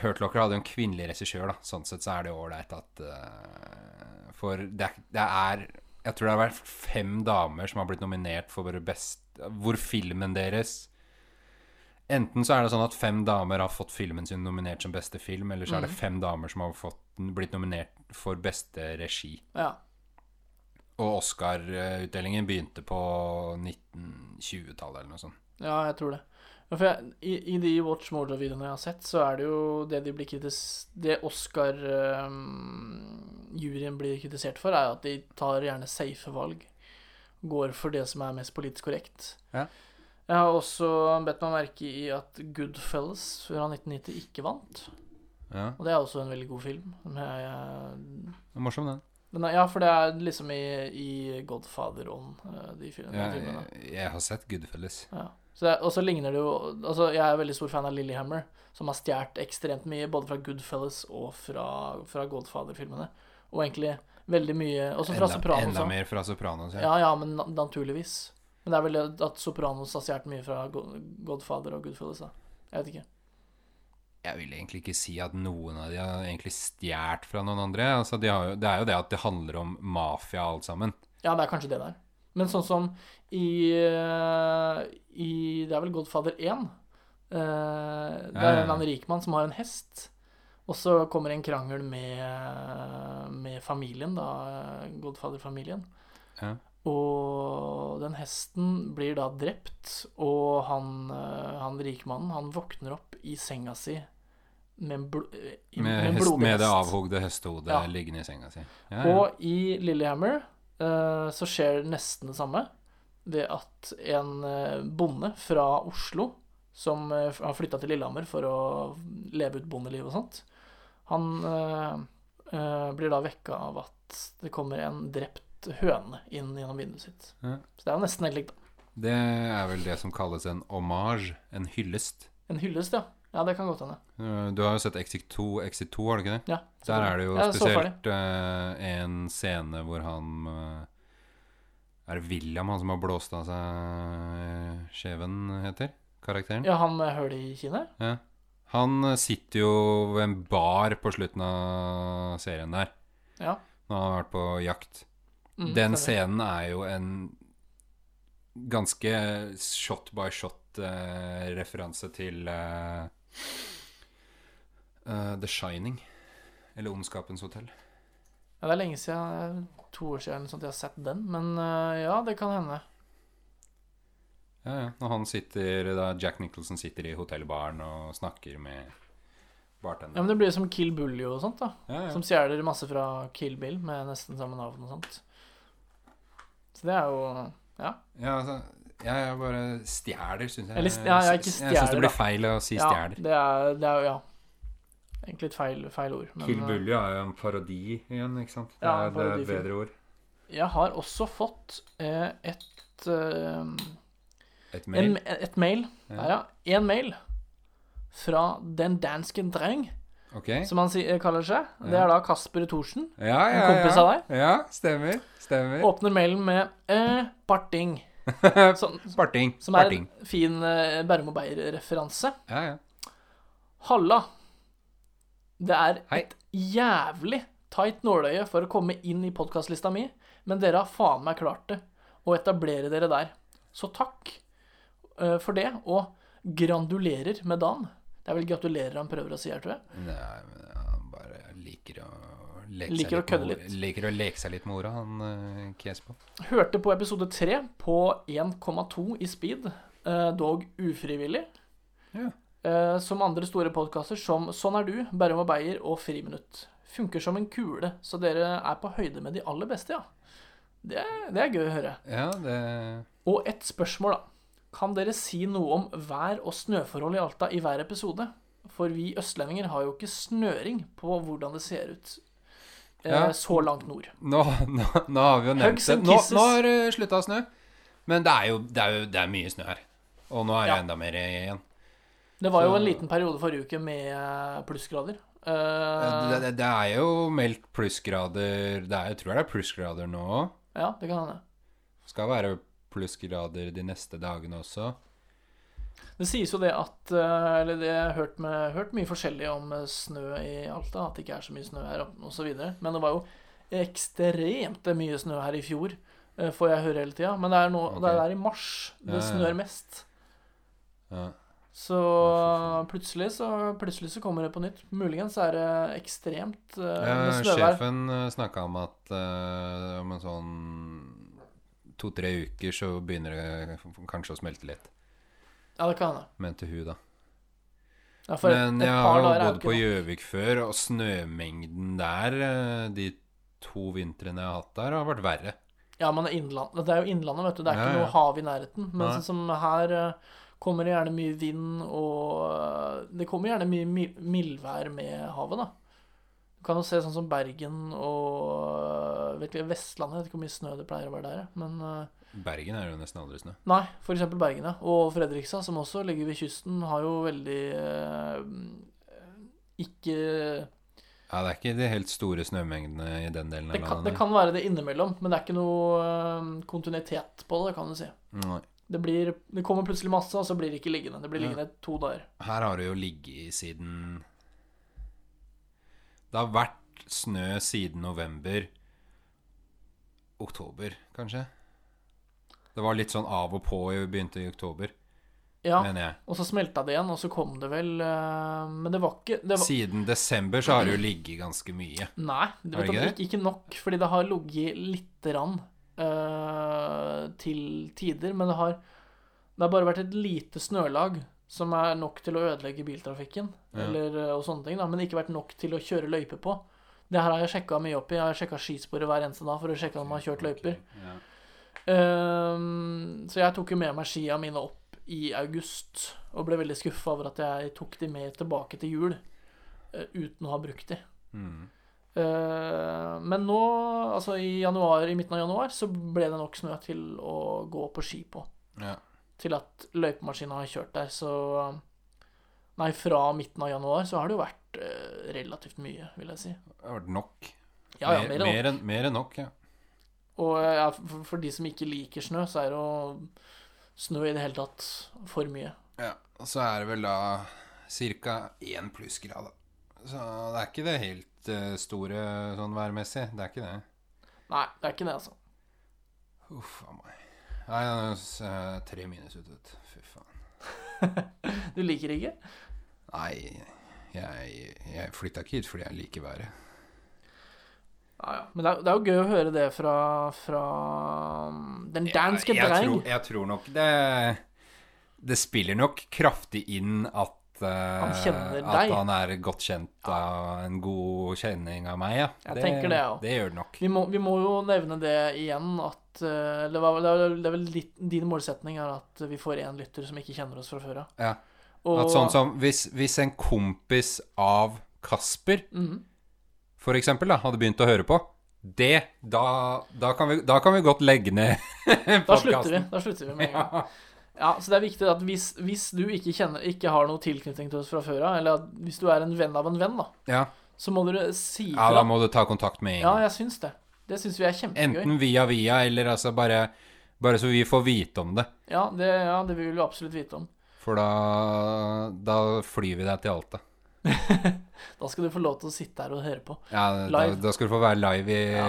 B: Hurt Locker hadde jo en kvinnelig regissør, da. Sånn sett så er det jo ålreit at eh, For det, er- det er Jeg tror det har vært fem damer som har blitt nominert for bare best Hvor filmen deres Enten så er det sånn at fem damer har fått filmen sin nominert som beste film, eller så er det fem damer som har fått, blitt nominert for beste regi.
A: Ja.
B: Og Oscar-utdelingen begynte på 1920-tallet eller noe sånt.
A: Ja, jeg tror det. Ja, For jeg, i, I de Watch Mojo-videoene jeg har sett, så er det jo det de blir kritis... Det Oscar-juryen blir kritisert for, er jo at de tar gjerne safe valg. Går for det som er mest politisk korrekt.
B: Ja.
A: Jeg har også bedt meg merke i at Goodfellas fra 1990 ikke vant.
B: Ja,
A: Og det er også en veldig god film. som jeg, jeg-
B: det er morsom den.
A: Men nei, ja, for det er liksom i, i Godfather-ånd, eh, de fil- de
B: Jeg,
A: filmene.
B: jeg har sett Goodfellas.
A: Ja. Så det, og så ligner det jo Altså, jeg er veldig stor fan av Lillehammer, som har stjålet ekstremt mye både fra Goodfellas og fra, fra Godfather-filmene. Og egentlig veldig mye Også fra
B: Enda,
A: Sopranos.
B: enda
A: også.
B: mer fra Sopranos. Ja.
A: Ja, ja, men na- naturligvis. Men det er vel det at Sopranos har stjålet mye fra Go- Godfather og Goodfellas, da. Jeg vet ikke.
B: Jeg vil egentlig ikke si at noen av de har egentlig stjålet fra noen andre. Altså, de har jo, det er jo det at det handler om mafia alt sammen.
A: Ja, det er kanskje det der. Men sånn som i, eh, i Det er vel Godfather 1. eh, det
B: Ja,
A: er
B: ja,
A: en
B: ja.
A: annen rikmann som har en hest. Og så kommer en krangel med, med familien, da. Godfather-familien.
B: Ja.
A: Og den hesten blir da drept, og han, eh, han rikmannen, han våkner opp i senga si med, en bl eh, i-
B: Med,
A: en
B: hest,
A: blodig
B: med det
A: hest.
B: avhogde hestehodet
A: Mm. Ja.
B: liggende i senga si. Ja, ja.
A: Og i Lillehammer eh, så skjer nesten det samme ved at en eh, bonde fra Oslo som eh, har flytta til Lillehammer for å leve ut bondeliv og sånt, han eh, eh, blir da vekka av at det kommer en drept høne inn gjennom vinduet sitt.
B: Ja.
A: Så det er jo nesten helt likt, da.
B: Det er vel det som kalles en hommage, en hyllest.
A: En hyllest, ja. Ja, det kan godt hende.
B: Eh, Du har jo sett Exit 2, Exit 2, har du ikke det?
A: Ja,
B: Der er det jo
A: Jeg så
B: spesielt eh, en scene hvor han eh, Er det William, han som har blåst av seg skjeven, heter karakteren?
A: Ja, han med høl i kinnet?
B: Han eh, sitter jo ved en bar på slutten av serien der,
A: Ja.
B: når han har vært på jakt.
A: Mm,
B: Den
A: stemmer.
B: scenen er jo en ganske shot by shot-referanse til eh, eh, The Shining, eller Ondskapens hotell.
A: Ja, det er lenge siden, eh, to år siden eller noe sånt, jeg har sett den, men eh, ja, det kan hende.
B: Ja, ja. Når han sitter, da Jack Nicholson sitter i hotellbaren og snakker med
A: Ja, men
B: bartenderen.
A: det blir jo som Kill Bully og sånt, da.
B: Ja, ja.
A: Som stjeler masse fra Kill Bill med nesten samme navn og sånt. Så det er jo Ja.
B: ja, altså, ja, jeg bare stjeler, syns jeg.
A: Eller st- ja, ja, ikke
B: jeg syns
A: stjeler,
B: det
A: da.
B: blir feil å si
A: ja
B: stjeler.
A: det, er, det er jo Ja. Egentlig et feil, feil ord. Men eh,
B: Kill Bully er jo en parodi igjen, ikke sant? Det er, det er
A: Ja,
B: et
A: parodifilm.
B: bedre ord.
A: eh, jeg har også fått eh, et eh,
B: Et
A: en,
B: mail.
A: Et mail.
B: Ja.
A: Ja, ja. En mail fra den danske dreng,
B: Ok. Ja,
A: som han si, eh, kaller seg. Det
B: Ja.
A: er da Kasper Thorsen.
B: ja, ja.
A: En kompis av deg?
B: Ja, stemmer. Stemmer.
A: Åpner mailen med eh, 'parting', som,
B: Parting.
A: som er
B: Parting.
A: en fin eh, Bærum og Beyer-referanse.
B: Ja, ja.
A: Halla. Det er
B: Hei.
A: et jævlig tight nåløye for å komme inn i podkastlista mi, men dere har faen meg klart det. Å etablere dere der. Så takk eh, for det, og grandulerer med dagen. Det er vel gratulerer han prøver å si her, tror jeg.
B: Nei, men han bare liker å leke seg
A: Liker å kødde
B: med ord-
A: litt.
B: Liker å leke seg litt med orda, han eh, Kespo.
A: Hørte på episode 3 på 1,2 i speed, eh, dog ufrivillig.
B: Ja.
A: Eh, som andre store podkaster som Sånn er du, Bærum og Beyer og Friminutt. Funker som en kule, så dere er på høyde med de aller beste, ja. Det, det er gøy å høre.
B: Ja, det
A: Og ett spørsmål, da. Kan dere si noe om vær- og snøforhold i Alta i hver episode? For vi østlendinger har jo ikke snøring på hvordan det ser ut eh,
B: Ja.
A: så langt nord.
B: nå, nå, nå har vi jo nevnt
A: Hugs
B: det.
A: and
B: Nå,
A: kisses.
B: nå har det slutta å snø. Men det er jo, det er jo det er mye snø her. Og nå er det
A: Ja.
B: enda mer igjen.
A: Det var
B: Så-
A: jo en liten periode forrige uke med eh, plussgrader. Eh,
B: Det, det, det er jo meldt plussgrader det er, Jeg tror det er plussgrader nå òg.
A: ja, det kan hende.
B: Skal være plussgrader de neste dagene også.
A: Det sies jo det at eh, Eller det jeg har hørt, med, hørt mye forskjellig om eh, snø i Alta. At det ikke er så mye snø her og så videre. Men det var jo ekstremt mye snø her i fjor, eh, får jeg høre hele tida. Men det er, nå,
B: Ok.
A: det er der i mars
B: Ja,
A: det
B: ja.
A: snør mest. Eh,
B: Ja.
A: Så
B: Ja,
A: plutselig, så plutselig så kommer det på nytt. Muligens er det ekstremt eh,
B: Ja,
A: med snøvær.
B: sjefen snakka om at eh, om en sånn to-tre uker så begynner det kanskje å smelte litt,
A: Ja, det kan hende.
B: mente hun, da.
A: Ja, for
B: Men
A: et, et
B: jeg
A: par
B: har jo
A: dager er jo
B: bodd på
A: ikke det.
B: Gjøvik før, og snømengden der eh, de to vintrene jeg har hatt der, har vært verre.
A: Ja, men det er innland, det er jo innlandet, vet du. Det er
B: Ja,
A: ikke
B: ja.
A: noe hav i nærheten. Men
B: Nei.
A: sånn som her eh, kommer det gjerne mye vind, og eh, det kommer gjerne mye mi- mildvær med havet, da. Du kan jo se sånn som Bergen og eh, vet ikke, Vestlandet. Jeg vet ikke hvor mye snø det pleier å være der, jeg. men eh,
B: Bergen er jo nesten aldri snø.
A: Nei, f.eks. Bergen, ja. Og Fredrikstad, som også ligger ved kysten, har jo veldig eh, ikke
B: Ja, det er ikke de helt store snømengdene i den delen
A: det
B: av
A: kan, det
B: landet.
A: kan være det innimellom, men det er ikke noe eh, kontinuitet på det, kan du si.
B: Nei.
A: Det, blir, det kommer plutselig masse, og så blir det ikke liggende. Det blir
B: Ja.
A: liggende i to dager.
B: Her har det jo ligget i siden Det har vært snø siden november. Oktober, kanskje. Det var litt sånn av og på i begynte i oktober,
A: Ja,
B: mener jeg.
A: og så smelta det igjen, og så kom det vel eh, Men det var ikke det var,
B: Siden desember så har det jo ligget ganske mye.
A: Nei,
B: Er
A: du
B: det
A: vet,
B: ikke
A: ikke, ikke nok, fordi det har ligget lite grann eh, til tider. Men det har, det har bare vært et lite snølag som er nok til å ødelegge biltrafikken
B: Ja.
A: eller, eh, og sånne ting, da, men ikke vært nok til å kjøre løype på. Det her har jeg sjekka mye opp i. Jeg har sjekka skisporet hver eneste dag for å sjekke om man har kjørt løyper.
B: Ok, ja.
A: Ehm, så jeg tok jo med meg skia mine opp i august, og ble veldig skuffa over at jeg tok de med tilbake til jul eh, uten å ha brukt de.
B: Mm.
A: Eh, men nå, altså i januar, i midten av januar, så ble det nok snø til å gå på ski på.
B: Ja.
A: Til at løypemaskina har kjørt der, så Nei, fra midten av januar så har det jo vært eh, relativt mye, vil jeg si.
B: Det har vært nok.
A: Ja, ja, mer enn nok.
B: mer enn mer enn nok, ja.
A: Og eh, ja, for, for de som ikke liker snø, så er det jo snø i det hele tatt for mye.
B: Ja, og så er det vel da ca. én plussgrad, da. Så det er ikke det helt eh, store sånn værmessig. Det er ikke det.
A: Nei, det er ikke det, altså.
B: Uff a meg. Nei, det er s- eh, tre minus ute, vet du. Fy faen.
A: Du liker ikke?
B: Nei, jeg, jeg flytta ikke hit fordi jeg liker været.
A: Ja, ja. Men det er, det er jo gøy å høre det fra, fra um, den danske
B: jeg, jeg,
A: dreng.
B: tror, jeg tror nok det Det spiller nok kraftig inn at eh,
A: Han kjenner
B: At
A: deg.
B: han er godt kjent av en god kjenning av meg, ja.
A: Jeg tenker det, ja.
B: Det gjør det nok.
A: Vi må, vi må jo nevne det igjen at eh, det, var, det, er, det er vel litt, din målsetning er at vi får én lytter som ikke kjenner oss fra før av.
B: Ja.
A: Og-
B: At sånn som hvis, hvis en kompis av Kasper,
A: Mhm.
B: for eksempel, da, hadde begynt å høre på, det Da, da, kan, vi, da kan vi godt legge ned podkasten.
A: Da slutter vi. Da slutter vi med en gang.
B: Ja.
A: Ja, så det er viktig at hvis, hvis du ikke, kjenner, ikke har noe tilknytning til oss fra før av, eller at hvis du er en venn av en venn, da,
B: Ja.
A: så må dere si
B: ja, da
A: fra.
B: må du ta kontakt med en
A: Ja,
B: gang.
A: jeg syns det. Det syns vi er kjempegøy.
B: Enten via via, eller altså bare Bare så vi får vite om det.
A: Ja det, ja, det vil vi absolutt vite om.
B: For da Da flyr vi deg til Alta.
A: Da skal du få lov til å sitte her og høre på.
B: Ja, da,
A: Live.
B: da skal du få være live i
A: Ja.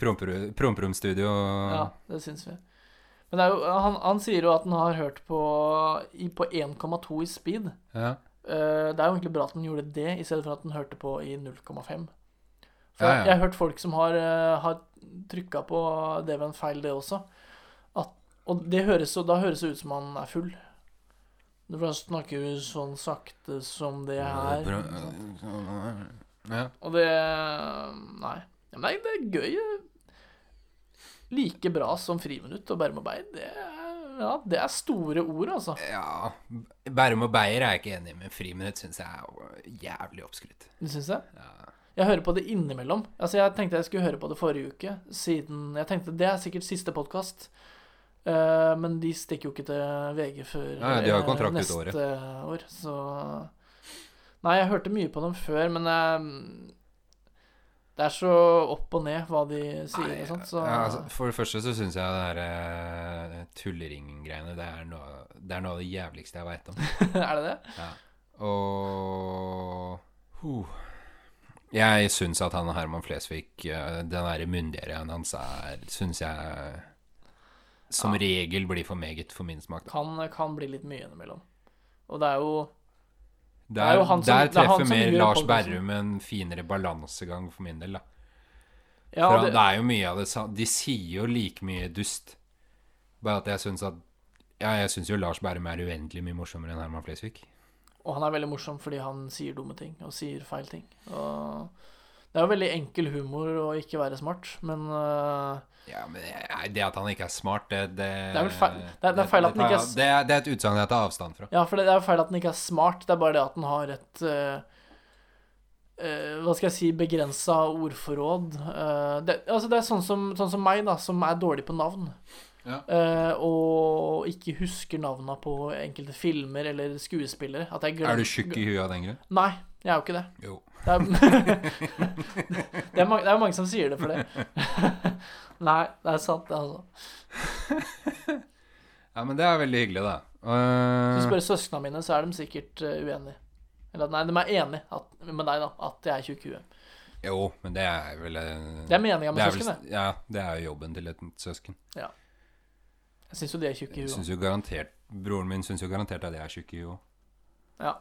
B: Promperu- Promperumstudio.
A: Ja, det syns vi. Men det er jo, han, han sier jo at han har hørt på i, på 1,2 i speed.
B: Ja.
A: Eh, det er jo egentlig bra at han gjorde det, i stedet for at han hørte på i 0,5. For
B: Ja, ja.
A: jeg- jeg har hørt folk som har, eh, har trykka på det ved en feil, det også. At, og det høres, jo- da høres det ut som han er full. Du bare snakker jo sånn sakte som det er.
B: Ja.
A: Og det Nei. Ja, Men det er gøy. Like bra som friminutt og bermarbeid. Det, er- ja, det er store ord, altså.
B: Ja, Bærum og Beyer er jeg ikke enig i, men friminutt syns jeg er jo jævlig oppskrytt.
A: Du syns det?
B: Ja.
A: Jeg hører på det innimellom. Altså, jeg tenkte jeg skulle høre på det forrige uke, siden Jeg tenkte det er sikkert siste podkast. Eh, men de stikker jo ikke til VG før
B: Nei, de har jo
A: eh,
B: kontrakt ut
A: neste
B: året.
A: år, så Nei, jeg hørte mye på dem før, men eh, det er så opp og ned hva de sier,
B: Nei,
A: og sånt, så
B: ja, altså, for det første så syns jeg det der eh, tulleringgreiene det, er noe- det er noe av det jævligste jeg veit om.
A: Er det det?
B: Ja. Og huh. Jeg syns at han Herman Flesvig, eh, den derre myndigheten hans, er Syns jeg som regel blir for meget for min smak. da.
A: Kan, kan bli litt mye innimellom. Og det er jo
B: Der,
A: er jo han som-
B: der
A: det er han
B: treffer
A: som
B: mer
A: gjør
B: Lars
A: podcasten.
B: Berrum en finere balansegang for min del, da.
A: Ja,
B: For
A: det,
B: det er jo mye av det sa- De sier jo like mye dust. Bare at jeg syns at Ja, jeg syns jo Lars Bærum er uendelig mye morsommere enn Herman Flesvig.
A: Og han er veldig morsom fordi han sier dumme ting og sier feil ting. Og det er jo veldig enkel humor å ikke være smart, men øh,
B: Ja, men jeg- det at han ikke er smart, det Det,
A: Det er vel feil- det er- det er feil at han
B: tar
A: ikke er
B: jeg-
A: s-
B: Det er, det er et utsagn jeg tar avstand fra.
A: Ja, for det det er jo feil at den ikke er smart, det er bare det at den har et øh, øh, hva skal jeg si Begrensa ordforråd. Øh, det, altså det er sånn som, sånn som meg, da, som er dårlig på navn.
B: Ja.
A: Øh, og ikke husker navna på enkelte filmer eller skuespillere. At jeg glem-
B: Er du tjukk i huet av den grunn?
A: Nei, jeg er jo ikke det.
B: Jo.
A: Det er, det, er mange, det er mange som sier det for det. Nei, det er sant, det, altså.
B: Ja, men det er veldig hyggelig, da. Uh,
A: Hvis du spør søsknene mine, så er de sikkert eh, uenige. Eller at- nei, de er enige at, med deg, da, at jeg er tjukk i huet.
B: Eh, jo, men det er vel eh,
A: Det er meninga med
B: det er vel-
A: søsken, det.
B: Ja, det er jo jobben til et søsken.
A: Jeg syns jo de er tjukke i
B: Jeg
A: huet.
B: synes jo garantert Broren min syns jo garantert at jeg er tjukk i huet.
A: Ja.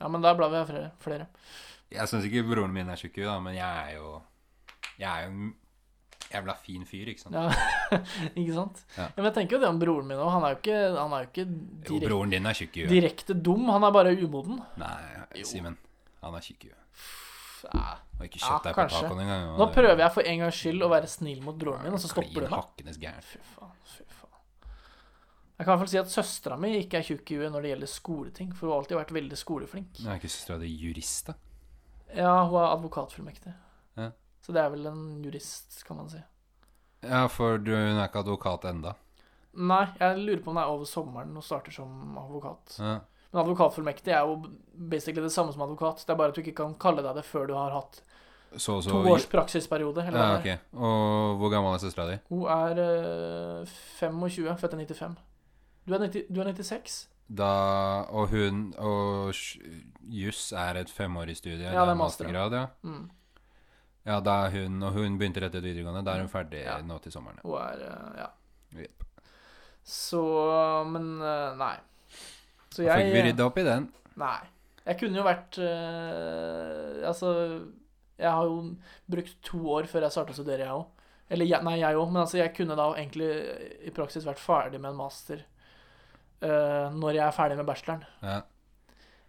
A: ja, men da blar vi flere. flere.
B: Jeg syns ikke broren min er tjukk i huet, da, men jeg er jo Jeg er jo en jævla fin fyr, ikke sant.
A: Ja. ikke sant?
B: Ja.
A: Ja. Men jeg tenker jo det om broren min òg. Han er jo ikke, han er jo ikke
B: jo,
A: direkte,
B: broren din er tjukk i huet.
A: direkte dum, han er bare umoden.
B: Nei, Simen. Han er tjukk i huet.
A: Ja.
B: Har ikke
A: Ja,
B: kjøpt deg på
A: kanskje.
B: tacoen engang.
A: Nå prøver jeg for en gangs skyld å være snill mot broren min, og så stopper du meg.
B: Hakkende gæren.
A: Fy faen, fy faen. Jeg kan i hvert fall si at søstera mi ikke er tjukk i huet når det gjelder skoleting, for hun har alltid vært veldig skoleflink.
B: Nå er ikke søstera di jurist, da?
A: Ja, hun er advokatfullmektig.
B: Ja.
A: Så det er vel en jurist, kan man si.
B: Ja, for du, hun er ikke advokat enda.
A: Nei, jeg lurer på om det er over sommeren hun starter som advokat.
B: Ja.
A: Men advokatfullmektig er jo basically det samme som advokat. Det er bare at du ikke kan kalle deg det før du har hatt
B: Så og så
A: to års praksisperiode. Eller
B: Ja,
A: hva
B: ok.
A: det er.
B: Og hvor gammel er søstera di?
A: Hun er øh, 25, født i 95. Du er, 90, du er 96?
B: Da Og hun Og sj- juss er et femårig studie.
A: Ja, det er master, ja.
B: mastergrad, ja.
A: Mm.
B: Ja, da er hun Og hun begynte rett etter videregående. Da er hun ferdig
A: Ja.
B: nå til sommeren.
A: Hun er øh, Ja.
B: Ja. Yep.
A: Så Men øh, nei. Så eh,
B: Da fikk vi rydda opp i den.
A: Nei. Jeg kunne jo vært øh, Altså, jeg har jo brukt to år før jeg starta å studere, jeg òg. Eller jeg, nei, jeg òg, men altså, jeg kunne da egentlig i praksis vært ferdig med en master øh, når jeg er ferdig med bacheloren.
B: Ja.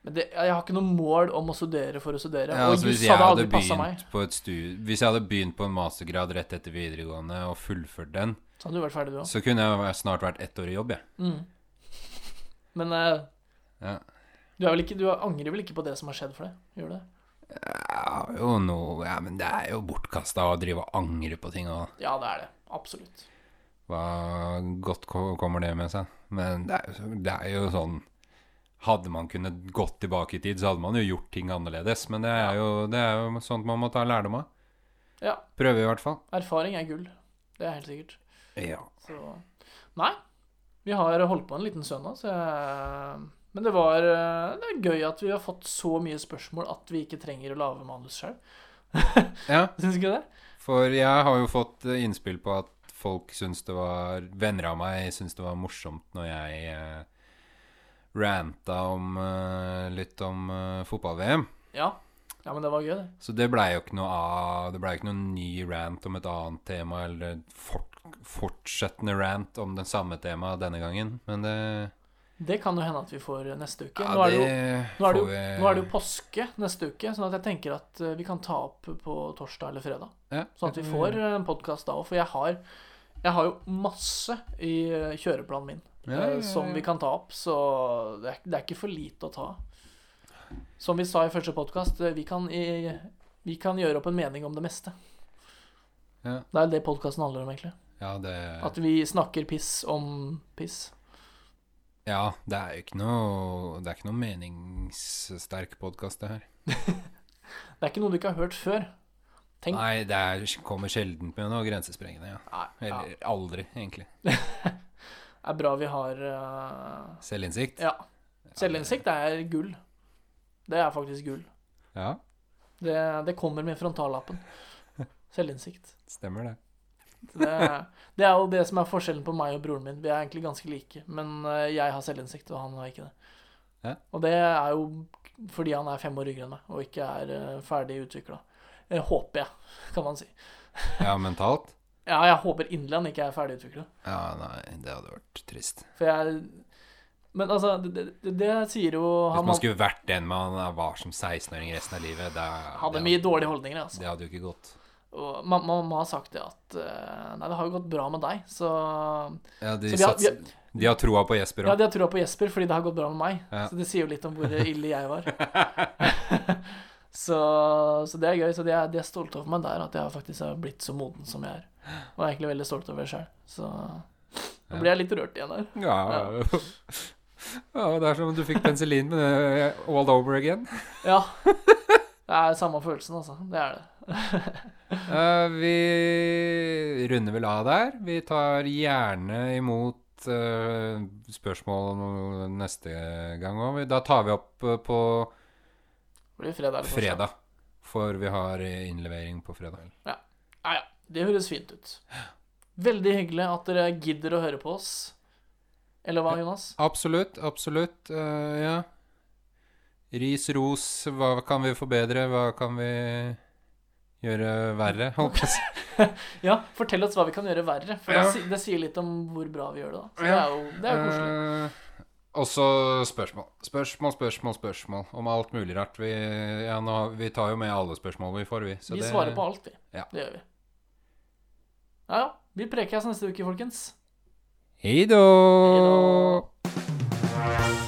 A: Men det, jeg har ikke noe mål om å studere for å studere.
B: Ja,
A: og
B: altså, hvis
A: juss
B: jeg
A: hadde
B: hadde
A: aldri passa meg.
B: begynt på et studie Hvis jeg hadde begynt på en mastergrad rett etter videregående og fullført den,
A: Så hadde du vært ferdig, du òg.
B: så kunne jeg vært- snart vært ett år i jobb, jeg.
A: Mm. Men eh,
B: Ja.
A: du, er vel ikke, du angrer vel ikke på det som har skjedd for deg? Gjør du det?
B: Ja, jo, no, ja, men det er jo bortkasta å drive og angre på ting. Og
A: Ja, det er det. Absolutt.
B: hva godt ko- kommer det med seg? Men det er, jo, så- det er jo sånn Hadde man kunnet gått tilbake i tid, så hadde man jo gjort ting annerledes. Men det er jo, det er jo sånt man må ta lærdom av.
A: Ja.
B: Prøve, i hvert fall.
A: Erfaring er gull. Det er helt sikkert.
B: Ja.
A: Så Nei. Vi har holdt på en liten stund nå, så jeg Men det var eh, Det er gøy at vi har fått så mye spørsmål at vi ikke trenger å lage manus sjøl.
B: ja.
A: Syns ikke det?
B: For jeg har jo fått eh, innspill på at folk syns det var Venner av meg syns det var morsomt når jeg eh, ranta om, eh, litt om eh, fotball-VM.
A: Ja. Ja, men det var gøy, det.
B: Så det blei jo ikke noe av Det blei jo ikke noen ny rant om et annet tema, eller fort, fortsettende rant om den samme temaet denne gangen, men det
A: Det kan jo hende at vi får eh, neste uke.
B: Ja,
A: nå, er det jo, nå, er det
B: får
A: jo,
B: vi-
A: nå er det jo påske neste uke, sånn at jeg tenker at eh, vi kan ta opp på torsdag eller fredag.
B: Ja,
A: Sånn at
B: det
A: vi
B: kan
A: får eh, en podkast da òg. For jeg har, jeg har jo masse i eh, kjøreplanen min
B: Ja,
A: eh,
B: ja, ja,
A: som
B: ja.
A: vi kan ta opp. Så det er, det er ikke for lite å ta. Som vi sa i første podkast, vi, kan i- vi kan gjøre opp en mening om det meste.
B: Ja.
A: Det er jo det podkasten handler om, egentlig.
B: Ja, det
A: At vi snakker piss om piss.
B: Ja, det er jo ikke noe Det er ikke noe meningssterk podkast, det her.
A: Det er ikke noe du ikke har hørt før. Tenk
B: Nei, det er, kommer sjelden med noe grensesprengende, ja.
A: Nei, ja.
B: Eller aldri, egentlig.
A: Det er bra vi har eh,
B: Selvinnsikt.
A: Ja. Selvinnsikt er gull. Det er faktisk gull.
B: Ja,
A: Det, det kommer med frontallappen. Selvinnsikt.
B: stemmer det.
A: Det, det er jo det som er forskjellen på meg og broren min. Vi er egentlig ganske like, men eh, jeg har selvinnsikt, og han har ikke det.
B: Ja.
A: Og det er jo fordi han er fem år yngre enn meg, og ikke er eh, ferdig utvikla. Håper jeg, kan man si.
B: Ja, mentalt?
A: Ja, jeg håper inderlig han ikke er ferdig utvikla.
B: Ja, nei, det hadde vært trist.
A: For jeg Men altså, det, det, det sier jo
B: Hvis
A: han
B: man skulle vært den man var som 16-åring resten av livet, det,
A: hadde
B: det,
A: mye dårlige holdninger, altså.
B: hadde, det hadde jo ikke gått.
A: Og ma- ma- mamma har sagt det at eh, Nei, det har jo gått bra med deg, så
B: Ja, de,
A: Så vi har-
B: sats- de har troa på Jesper
A: Ja,
B: òg.
A: de har trua på Jesper fordi det har gått bra med meg.
B: Ja.
A: Så det sier jo litt om hvor ille jeg var. så, så det er gøy. Så de er, de er stolte over meg der, at jeg faktisk har blitt så moden som jeg er. Og jeg er egentlig veldig stolt over det sjøl. Så nå ble jeg litt rørt igjen der.
B: Ja. Ja. det er som om du fikk penicillin med det all over again.
A: Ja. Det er samme følelsen, altså. Det er det.
B: Eh, vi runder vel av der. Vi tar gjerne imot eh, spørsmål neste gang òg. Da tar vi opp eh, på
A: Det blir fredag eller torsdag.
B: fredag, for vi har eh, innlevering på fredag.
A: Ja, ja. Det høres fint ut. Veldig hyggelig at dere gidder å høre på oss. Eller hva, Jonas?
B: Absolutt, absolutt. eh, ja. Ris, ros, hva kan vi forbedre, hva kan vi gjøre verre, holdt jeg på å si.
A: Ja, fortell oss hva vi kan gjøre verre. For
B: Ja.
A: det, si- det sier litt om hvor bra vi gjør det, da. Så det
B: Ja.
A: er jo, det er jo koselig.
B: Eh, også spørsmål. Spørsmål, spørsmål, spørsmål om alt mulig rart. Vi, ja, nå, vi tar jo med alle spørsmål vi får, vi. så
A: Vi
B: det-
A: svarer på alt, vi.
B: Ja.
A: Det gjør vi. Ja, ja. Vi prekes neste uke, folkens.
C: Hei då!
B: Hei da.